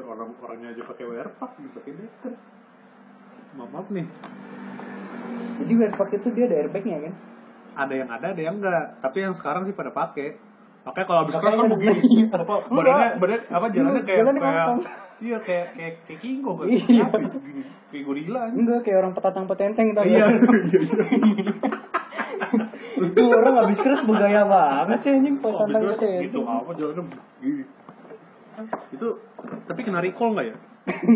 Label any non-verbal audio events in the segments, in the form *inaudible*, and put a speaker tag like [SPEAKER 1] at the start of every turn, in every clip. [SPEAKER 1] orangnya aja pakai wear pack pakai better maaf, maaf nih
[SPEAKER 2] Jadi Werpak itu dia ada airbagnya kan?
[SPEAKER 1] ada yang ada ada yang enggak tapi yang sekarang sih pada pakai makanya kalau habis kelas
[SPEAKER 2] Makanya
[SPEAKER 1] kan begini
[SPEAKER 2] iya.
[SPEAKER 1] apa
[SPEAKER 2] Enggak.
[SPEAKER 1] badannya badan apa jalannya
[SPEAKER 2] Iya,
[SPEAKER 1] kayak
[SPEAKER 2] jalannya
[SPEAKER 1] kayak
[SPEAKER 2] ngomong.
[SPEAKER 1] iya kayak kayak kayak kingo kan
[SPEAKER 2] Iya.
[SPEAKER 1] Apa itu? Gini, kayak gorila anjing.
[SPEAKER 2] Enggak, kayak orang petatang petenteng tau
[SPEAKER 1] iya iya
[SPEAKER 2] gak? itu orang habis keras bergaya banget sih anjing
[SPEAKER 1] Oh,
[SPEAKER 2] petatang
[SPEAKER 1] terus
[SPEAKER 2] petenteng.
[SPEAKER 1] gitu
[SPEAKER 2] *laughs*
[SPEAKER 1] apa jalannya begini itu tapi kena recall nggak ya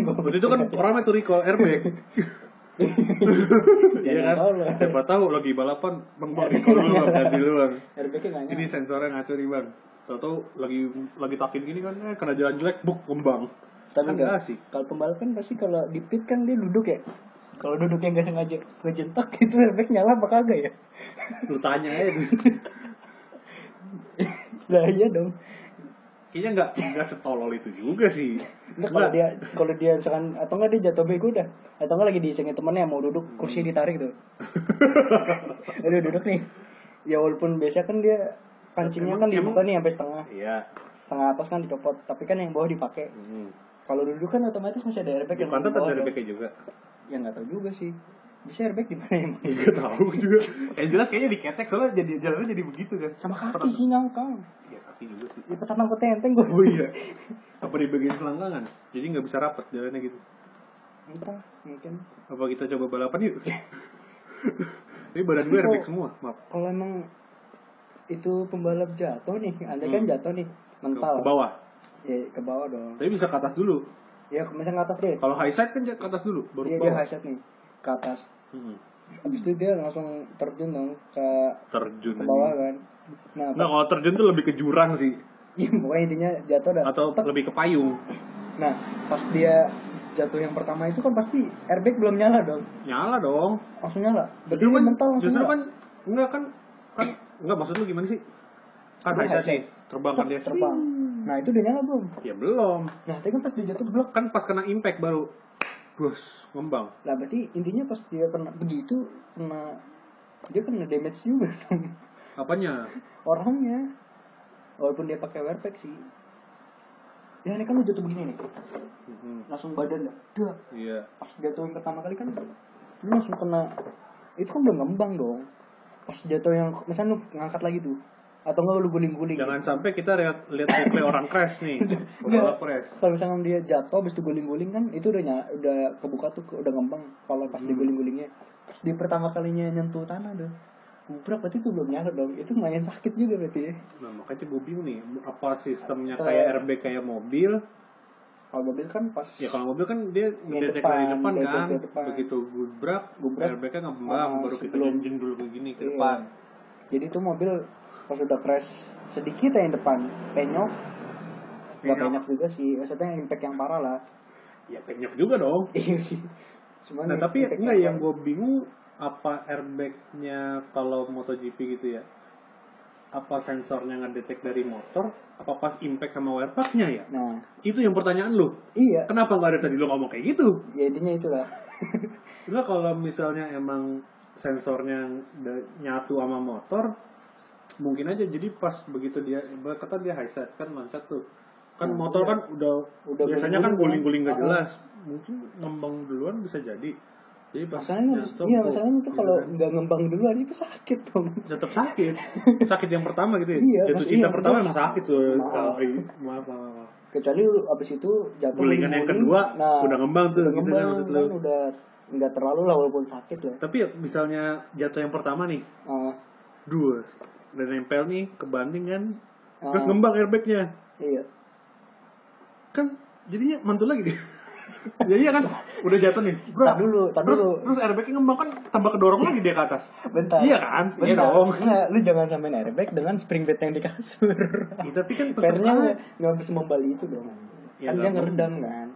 [SPEAKER 1] waktu
[SPEAKER 2] *laughs*
[SPEAKER 1] itu kan orang itu recall airbag iya kan
[SPEAKER 2] tahu lah. Iya.
[SPEAKER 1] siapa tahu lagi balapan bang bang recall dulu bang ganti dulu
[SPEAKER 2] *laughs*
[SPEAKER 1] bang
[SPEAKER 2] Airbagnya nggak
[SPEAKER 1] ini
[SPEAKER 2] nyala.
[SPEAKER 1] sensornya ngaco nih bang tau tau lagi lagi takin gini kan eh, kena jalan jelek buk kembang kan
[SPEAKER 2] Tapi enggak.
[SPEAKER 1] nggak asik
[SPEAKER 2] Kalau pembalap kan pasti kalau di pit kan dia duduk ya. Kalau duduknya nggak sengaja kejentak *laughs* itu airbag nyala apa kagak ya?
[SPEAKER 1] lu tanya
[SPEAKER 2] *laughs*
[SPEAKER 1] aja tuh.
[SPEAKER 2] Lah iya dong.
[SPEAKER 1] kayaknya nggak nggak setolol itu juga sih
[SPEAKER 2] Enggak kalau
[SPEAKER 1] Nggak.
[SPEAKER 2] dia kalau dia misalkan atau enggak dia jatuh bego dah. Atau enggak lagi diisengin temennya mau duduk kursi ditarik tuh. Aduh duduk nih. Ya walaupun biasa kan dia pancingnya
[SPEAKER 1] Emang-
[SPEAKER 2] kan dibuka nih sampai setengah.
[SPEAKER 1] *laughs* iya
[SPEAKER 2] Setengah atas kan dicopot, tapi kan yang bawah dipakai.
[SPEAKER 1] hmm.
[SPEAKER 2] Kalau duduk kan otomatis masih ada airbag yang
[SPEAKER 1] bukan tetap
[SPEAKER 2] bawah
[SPEAKER 1] dari
[SPEAKER 2] dong.
[SPEAKER 1] BK juga
[SPEAKER 2] Ya enggak tahu juga sih. Bisa airbag ya, di mana emang?
[SPEAKER 1] Iya tahu juga. Yang jelas kayaknya diketek soalnya jadi jalannya jadi begitu kan.
[SPEAKER 2] Sama kaki sih nyangkang.
[SPEAKER 1] Iya kaki juga sih.
[SPEAKER 2] Di petatang petenteng gue.
[SPEAKER 1] Oh
[SPEAKER 2] *laughs*
[SPEAKER 1] iya. Apa di bagian selangkangan? Jadi nggak bisa rapat jalannya gitu.
[SPEAKER 2] Entah, mungkin
[SPEAKER 1] Apa kita coba balapan yuk?
[SPEAKER 2] Iya.
[SPEAKER 1] *laughs* Ini badan gue airbag semua, maaf.
[SPEAKER 2] kalau emang itu pembalap jatuh nih, anda kan
[SPEAKER 1] Hmm.
[SPEAKER 2] jatuh nih,
[SPEAKER 1] Ke,
[SPEAKER 2] mental.
[SPEAKER 1] ke bawah.
[SPEAKER 2] Ya, ke bawah dong.
[SPEAKER 1] Tapi bisa ke atas dulu.
[SPEAKER 2] Ya, misalnya ke atas deh.
[SPEAKER 1] Kalau high side kan ke atas dulu, baru
[SPEAKER 2] Iya, Dia,
[SPEAKER 1] ke
[SPEAKER 2] dia
[SPEAKER 1] bawah.
[SPEAKER 2] high set nih, ke atas.
[SPEAKER 1] Hmm.
[SPEAKER 2] Habis itu dia langsung terjun dong ke,
[SPEAKER 1] Terjun.
[SPEAKER 2] ke bawah
[SPEAKER 1] aja.
[SPEAKER 2] kan. Nah,
[SPEAKER 1] Nah
[SPEAKER 2] pas, *laughs*
[SPEAKER 1] kalau terjun tuh lebih ke jurang sih,
[SPEAKER 2] ya, pokoknya intinya jatuh dah.
[SPEAKER 1] atau
[SPEAKER 2] Tek.
[SPEAKER 1] lebih ke payung.
[SPEAKER 2] Nah, pas dia jatuh yang pertama itu kan pasti airbag belum nyala dong.
[SPEAKER 1] Nyala dong.
[SPEAKER 2] Langsung nyala. Berarti
[SPEAKER 1] Justru
[SPEAKER 2] dia
[SPEAKER 1] kan,
[SPEAKER 2] mental langsung
[SPEAKER 1] justru
[SPEAKER 2] nyala.
[SPEAKER 1] kan, enggak kan, kan, enggak maksud lu gimana sih? Kan
[SPEAKER 2] Dia
[SPEAKER 1] high side
[SPEAKER 2] high
[SPEAKER 1] sih, terbang kan dia.
[SPEAKER 2] terbang. Nah, itu udah nyala belum?
[SPEAKER 1] Ya belum.
[SPEAKER 2] Nah, tapi kan pas dia jatuh blok.
[SPEAKER 1] Kan pas kena impact baru bus ngembang.
[SPEAKER 2] Nah, berarti intinya pas dia kena begitu kena dia kena damage juga dong. *laughs*
[SPEAKER 1] Apanya?
[SPEAKER 2] orangnya. Walaupun dia pakai wear pack sih. Ya, ini kan lu jatuh begini nih.
[SPEAKER 1] Mhm,
[SPEAKER 2] Langsung badan dah.
[SPEAKER 1] Iya.
[SPEAKER 2] Pas jatuh yang pertama kali kan lu langsung kena itu kan belum ngembang dong. Pas jatuh yang misalnya lu ngangkat lagi tuh atau enggak lu guling-guling.
[SPEAKER 1] Jangan sampai kita lihat lihat replay orang crash
[SPEAKER 2] *laughs*
[SPEAKER 1] nih. Pembalap crash.
[SPEAKER 2] Kalau misalkan dia jatuh habis diguling-guling kan itu udah nyala, udah kebuka tuh udah ngembang kalau pas
[SPEAKER 1] Hmm.
[SPEAKER 2] diguling-gulingnya. Pas di pertama kalinya nyentuh tanah tuh. Gubrak berarti itu belum nyala dong. Itu lumayan sakit juga berarti ya.
[SPEAKER 1] Nah, makanya gue bingung nih, apa sistemnya
[SPEAKER 2] Eh.
[SPEAKER 1] kayak airbag kayak mobil?
[SPEAKER 2] Kalau mobil kan pas
[SPEAKER 1] Ya kalau mobil kan dia ngedetek
[SPEAKER 2] depan,
[SPEAKER 1] dari depan
[SPEAKER 2] dari
[SPEAKER 1] kan,
[SPEAKER 2] depan.
[SPEAKER 1] begitu gubrak,
[SPEAKER 2] Gubrak.
[SPEAKER 1] airbagnya ngembang,
[SPEAKER 2] Ah,
[SPEAKER 1] baru kita
[SPEAKER 2] sebelum.
[SPEAKER 1] jenjin dulu ke gini ke
[SPEAKER 2] Iya.
[SPEAKER 1] depan.
[SPEAKER 2] Jadi itu mobil pas udah crash sedikit ya yang depan penyok. Gak
[SPEAKER 1] Penyok.
[SPEAKER 2] banyak juga sih. Maksudnya impact yang parah lah.
[SPEAKER 1] Ya penyok juga dong.
[SPEAKER 2] Iya sih. Cuman ya,
[SPEAKER 1] Nah tapi
[SPEAKER 2] impact
[SPEAKER 1] enggak yang
[SPEAKER 2] parah.
[SPEAKER 1] gue bingung apa airbagnya kalau MotoGP gitu ya apa sensornya ngedetek dari motor apa pas impact sama wear packnya ya
[SPEAKER 2] Nah,
[SPEAKER 1] itu yang pertanyaan lu
[SPEAKER 2] iya.
[SPEAKER 1] kenapa nggak dari tadi lu ngomong kayak gitu
[SPEAKER 2] Ya intinya itulah.
[SPEAKER 1] *laughs* enggak kalau misalnya emang sensornya da- nyatu sama motor mungkin aja jadi pas begitu dia ibarat kata dia high set kan loncat tuh kan
[SPEAKER 2] Hmm,
[SPEAKER 1] motor
[SPEAKER 2] iya.
[SPEAKER 1] kan udah,
[SPEAKER 2] Udah
[SPEAKER 1] biasanya kan guling-guling
[SPEAKER 2] guling-guling kan?
[SPEAKER 1] gak jelas mungkin ngembang duluan bisa jadi jadi pas
[SPEAKER 2] Masalahnya,
[SPEAKER 1] jatuh,
[SPEAKER 2] iya,
[SPEAKER 1] tuh,
[SPEAKER 2] masalahnya tuh
[SPEAKER 1] gitu
[SPEAKER 2] kalau
[SPEAKER 1] kan.
[SPEAKER 2] nggak ngembang duluan itu sakit dong.
[SPEAKER 1] tetap
[SPEAKER 2] *laughs*
[SPEAKER 1] sakit sakit yang pertama gitu ya
[SPEAKER 2] Iya,
[SPEAKER 1] jatuh
[SPEAKER 2] maksud-
[SPEAKER 1] cinta
[SPEAKER 2] iya,
[SPEAKER 1] pertama
[SPEAKER 2] maksudnya-
[SPEAKER 1] emang sakit tuh
[SPEAKER 2] Maaf.
[SPEAKER 1] Ay, maaf maaf, maaf.
[SPEAKER 2] kecuali lu abis itu jatuh Nah,
[SPEAKER 1] Gulingan kan yang kedua, udah ngembang tuh,
[SPEAKER 2] udah
[SPEAKER 1] gitu
[SPEAKER 2] ngembang,
[SPEAKER 1] kan maksud lu.
[SPEAKER 2] kan udah nggak terlalu lah walaupun sakit lah
[SPEAKER 1] tapi ya, misalnya jatuh yang pertama nih
[SPEAKER 2] Ah,
[SPEAKER 1] dua udah nempel nih kebanding kan
[SPEAKER 2] ah,
[SPEAKER 1] terus ngembang airbagnya
[SPEAKER 2] iya
[SPEAKER 1] kan jadinya mantul lagi deh *laughs* ya iya kan udah jatuh nih Bro,
[SPEAKER 2] Tar dulu, tar
[SPEAKER 1] terus
[SPEAKER 2] dulu.
[SPEAKER 1] terus airbagnya ngembang kan tambah kedorong lagi dia ke atas
[SPEAKER 2] bentar
[SPEAKER 1] iya kan iya
[SPEAKER 2] bentar
[SPEAKER 1] dong *laughs*
[SPEAKER 2] Nggak, lu jangan samain airbag dengan spring bed yang di kasur
[SPEAKER 1] *laughs* Ya, tapi kan tetap
[SPEAKER 2] pernya
[SPEAKER 1] aja.
[SPEAKER 2] nggak- nggak bisa membalik itu dong
[SPEAKER 1] Ya,
[SPEAKER 2] kan dia
[SPEAKER 1] nggak
[SPEAKER 2] ngeredam kan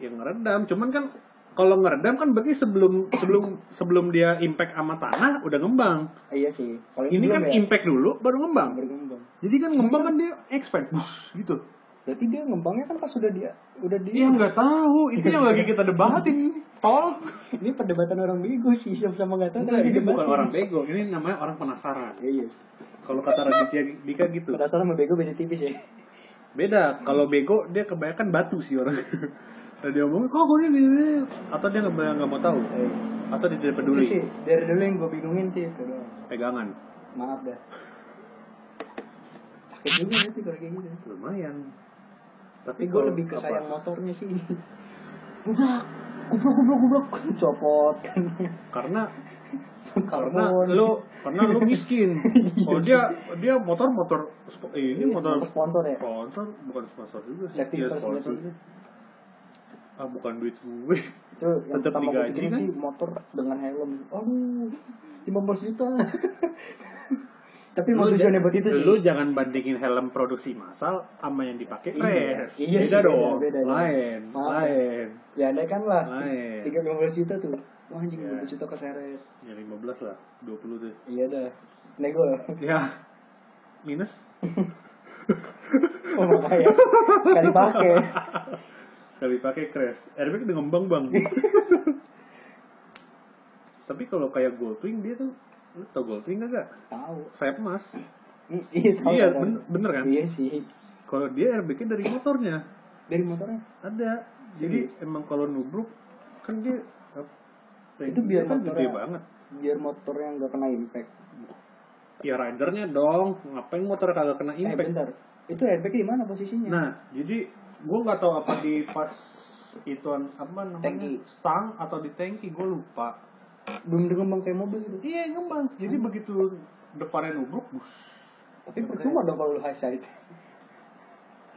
[SPEAKER 1] ya ngeredam cuman kan kalau ngeredam kan berarti sebelum sebelum sebelum dia impact sama tanah udah ngembang
[SPEAKER 2] Ah, iya sih kalau
[SPEAKER 1] ini
[SPEAKER 2] belum
[SPEAKER 1] kan
[SPEAKER 2] ya,
[SPEAKER 1] impact dulu baru ngembang
[SPEAKER 2] baru ngembang
[SPEAKER 1] jadi kan ngembang kan dia expand bus gitu
[SPEAKER 2] berarti dia ngembangnya kan pas udah dia udah dia
[SPEAKER 1] dia nggak tahu itu yang lagi kita debatin tol
[SPEAKER 2] ini perdebatan orang bego sih sama-sama nggak tahu
[SPEAKER 1] Enggak,
[SPEAKER 2] tapi
[SPEAKER 1] ini bukan
[SPEAKER 2] debatin.
[SPEAKER 1] orang bego ini namanya orang penasaran
[SPEAKER 2] Iya, iya
[SPEAKER 1] kalau kata Raditya Dika gitu
[SPEAKER 2] penasaran sama bego beda tipis ya *laughs*
[SPEAKER 1] beda kalau bego dia kebanyakan batu sih orang Dan dia ngomong, kok gue ini gini, gini?" Atau dia nggak nggak mau tahu?
[SPEAKER 2] Eh,
[SPEAKER 1] Atau dia tidak
[SPEAKER 2] itu
[SPEAKER 1] peduli?
[SPEAKER 2] Iya sih dari dulu yang gue bingungin sih itu doang.
[SPEAKER 1] Pegangan.
[SPEAKER 2] Maaf dah. Sakit juga nanti kalau kayak gitu.
[SPEAKER 1] Lumayan.
[SPEAKER 2] Tapi
[SPEAKER 1] Tapi
[SPEAKER 2] gue
[SPEAKER 1] kalau
[SPEAKER 2] lebih ke
[SPEAKER 1] apa?
[SPEAKER 2] sayang motornya sih. Gublak, gublak, gublak, gublak, copot kan.
[SPEAKER 1] Karena karena
[SPEAKER 2] Karbon.
[SPEAKER 1] lu karena lu
[SPEAKER 2] *laughs*
[SPEAKER 1] miskin. oh dia dia motor motor sp- ini motor
[SPEAKER 2] sponsor ya.
[SPEAKER 1] sponsor bukan sponsor juga sih.
[SPEAKER 2] Safety
[SPEAKER 1] Iya,
[SPEAKER 2] first gitu.
[SPEAKER 1] sponsor.
[SPEAKER 2] berarti.
[SPEAKER 1] Ah bukan duit gue.
[SPEAKER 2] Itu yang
[SPEAKER 1] Tetep
[SPEAKER 2] pertama
[SPEAKER 1] digaji,
[SPEAKER 2] gue pikirin
[SPEAKER 1] kan?
[SPEAKER 2] sih motor dengan helm. Aduh, 15
[SPEAKER 1] *laughs*
[SPEAKER 2] juta. Tapi mau
[SPEAKER 1] Lu
[SPEAKER 2] tujuannya
[SPEAKER 1] ja-
[SPEAKER 2] buat itu sih.
[SPEAKER 1] Lu jangan bandingin helm produksi massal sama yang dipakai
[SPEAKER 2] Iya,
[SPEAKER 1] fresh.
[SPEAKER 2] iya
[SPEAKER 1] beda
[SPEAKER 2] sih, beda,
[SPEAKER 1] dong.
[SPEAKER 2] beda, beda.
[SPEAKER 1] lain,
[SPEAKER 2] Maaf ya.
[SPEAKER 1] lain.
[SPEAKER 2] Ya ada kan lah.
[SPEAKER 1] Lain.
[SPEAKER 2] Tiga juta tuh. Wah anjing
[SPEAKER 1] Ah, Iya.
[SPEAKER 2] 15 juta keseret.
[SPEAKER 1] Ya 15 lah, 20 deh.
[SPEAKER 2] Iya dah. Nego.
[SPEAKER 1] Ya. Minus
[SPEAKER 2] *laughs* Oh makanya. Sekali pakai.
[SPEAKER 1] sekali pakai crash. Airbag udah ngembang, Bang.
[SPEAKER 2] *laughs*
[SPEAKER 1] Tapi kalau kayak Goldwing dia tuh lu tau Goldwing kagak?
[SPEAKER 2] Tahu.
[SPEAKER 1] Sayap emas.
[SPEAKER 2] Hmm, Iya tahu.
[SPEAKER 1] Iya,
[SPEAKER 2] tahu.
[SPEAKER 1] bener, bener kan?
[SPEAKER 2] Iya sih.
[SPEAKER 1] Kalau dia airbagnya dari motornya.
[SPEAKER 2] Dari motornya.
[SPEAKER 1] Ada. Jadi emang kalau nubruk kan dia
[SPEAKER 2] Itu biar
[SPEAKER 1] kan gede
[SPEAKER 2] motornya-
[SPEAKER 1] banget.
[SPEAKER 2] Biar motornya nggak kena impact.
[SPEAKER 1] Ya ridernya dong, ngapain motor kagak kena
[SPEAKER 2] Eh
[SPEAKER 1] impact?
[SPEAKER 2] bentar. Itu airbag di mana posisinya?
[SPEAKER 1] Nah, jadi gue nggak tahu apa di pas ituan apa namanya
[SPEAKER 2] Tangki.
[SPEAKER 1] stang atau di tangki gue lupa.
[SPEAKER 2] Belum berkembang kayak mobil gitu.
[SPEAKER 1] Iya ngembang. Jadi begitu depannya nubruk, bus.
[SPEAKER 2] Tapi percuma dong kalau lu high side.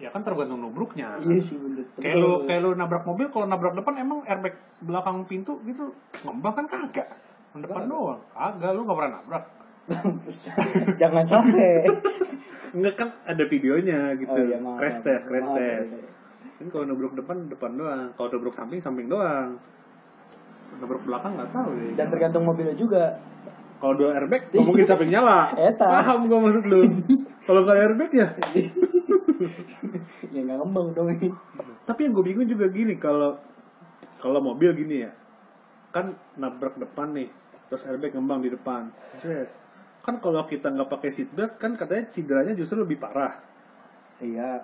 [SPEAKER 1] Ya kan tergantung nubruknya.
[SPEAKER 2] Iya sih bener.
[SPEAKER 1] Kayak lu, kayak lu nabrak mobil, kalau nabrak depan emang airbag belakang pintu gitu ngembang kan kagak. Yang Depan
[SPEAKER 2] Kagak.
[SPEAKER 1] doang. Kagak, lu gak pernah nabrak.
[SPEAKER 2] Mampus. *laughs* Jangan sampai.
[SPEAKER 1] Enggak kan ada videonya gitu.
[SPEAKER 2] Oh iya, maaf.
[SPEAKER 1] crash test, crash
[SPEAKER 2] Maaf,
[SPEAKER 1] test.
[SPEAKER 2] maaf.
[SPEAKER 1] Kan kalau nubruk depan depan doang, kalau nubruk samping samping doang. Nubruk belakang nggak tahu ya.
[SPEAKER 2] Dan tergantung mobilnya juga. *laughs*
[SPEAKER 1] Kalau dua airbag, nggak mungkin sampai nyala.
[SPEAKER 2] Eta.
[SPEAKER 1] Paham gue maksud
[SPEAKER 2] *laughs*
[SPEAKER 1] lu. Kalau nggak ada airbag ya.
[SPEAKER 2] ya nggak ngembang dong ini.
[SPEAKER 1] Tapi yang gue bingung juga gini, kalau kalau mobil gini ya, kan nabrak depan nih, terus airbag ngembang di depan. Set. Kan kalau kita nggak pakai seatbelt, kan katanya cederanya justru lebih parah.
[SPEAKER 2] Iya.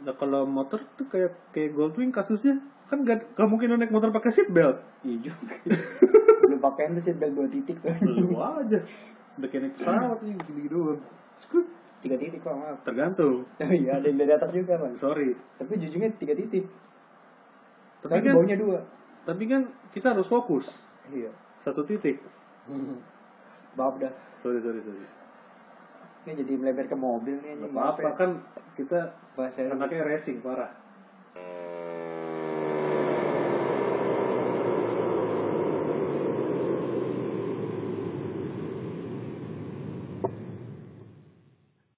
[SPEAKER 1] Nah kalau motor tuh kayak kayak Goldwing kasusnya, kan gak, nggak mungkin naik motor pakai
[SPEAKER 2] *laughs*
[SPEAKER 1] seatbelt.
[SPEAKER 2] Iya
[SPEAKER 1] *laughs*
[SPEAKER 2] juga. lu pakein tuh seatbelt dua titik tuh.
[SPEAKER 1] Lu aja. Udah kayak naik pesawat nih, gini doang. Skut.
[SPEAKER 2] Tiga titik kok maaf.
[SPEAKER 1] Tergantung,
[SPEAKER 2] Oh iya ada yang dari atas juga kan.
[SPEAKER 1] sorry.
[SPEAKER 2] Tapi jujurnya tiga titik.
[SPEAKER 1] Tapi
[SPEAKER 2] Tapi
[SPEAKER 1] kan,
[SPEAKER 2] baunya dua.
[SPEAKER 1] tapi kan kita harus fokus.
[SPEAKER 2] Iya.
[SPEAKER 1] Satu titik. Hmm.
[SPEAKER 2] Maaf dah.
[SPEAKER 1] Sorry, sorry, sorry.
[SPEAKER 2] Ini jadi melebar ke mobil nih.
[SPEAKER 1] Gak
[SPEAKER 2] anjing.
[SPEAKER 1] apa-apa
[SPEAKER 2] ya.
[SPEAKER 1] kan kita
[SPEAKER 2] Bahasa
[SPEAKER 1] anaknya racing parah.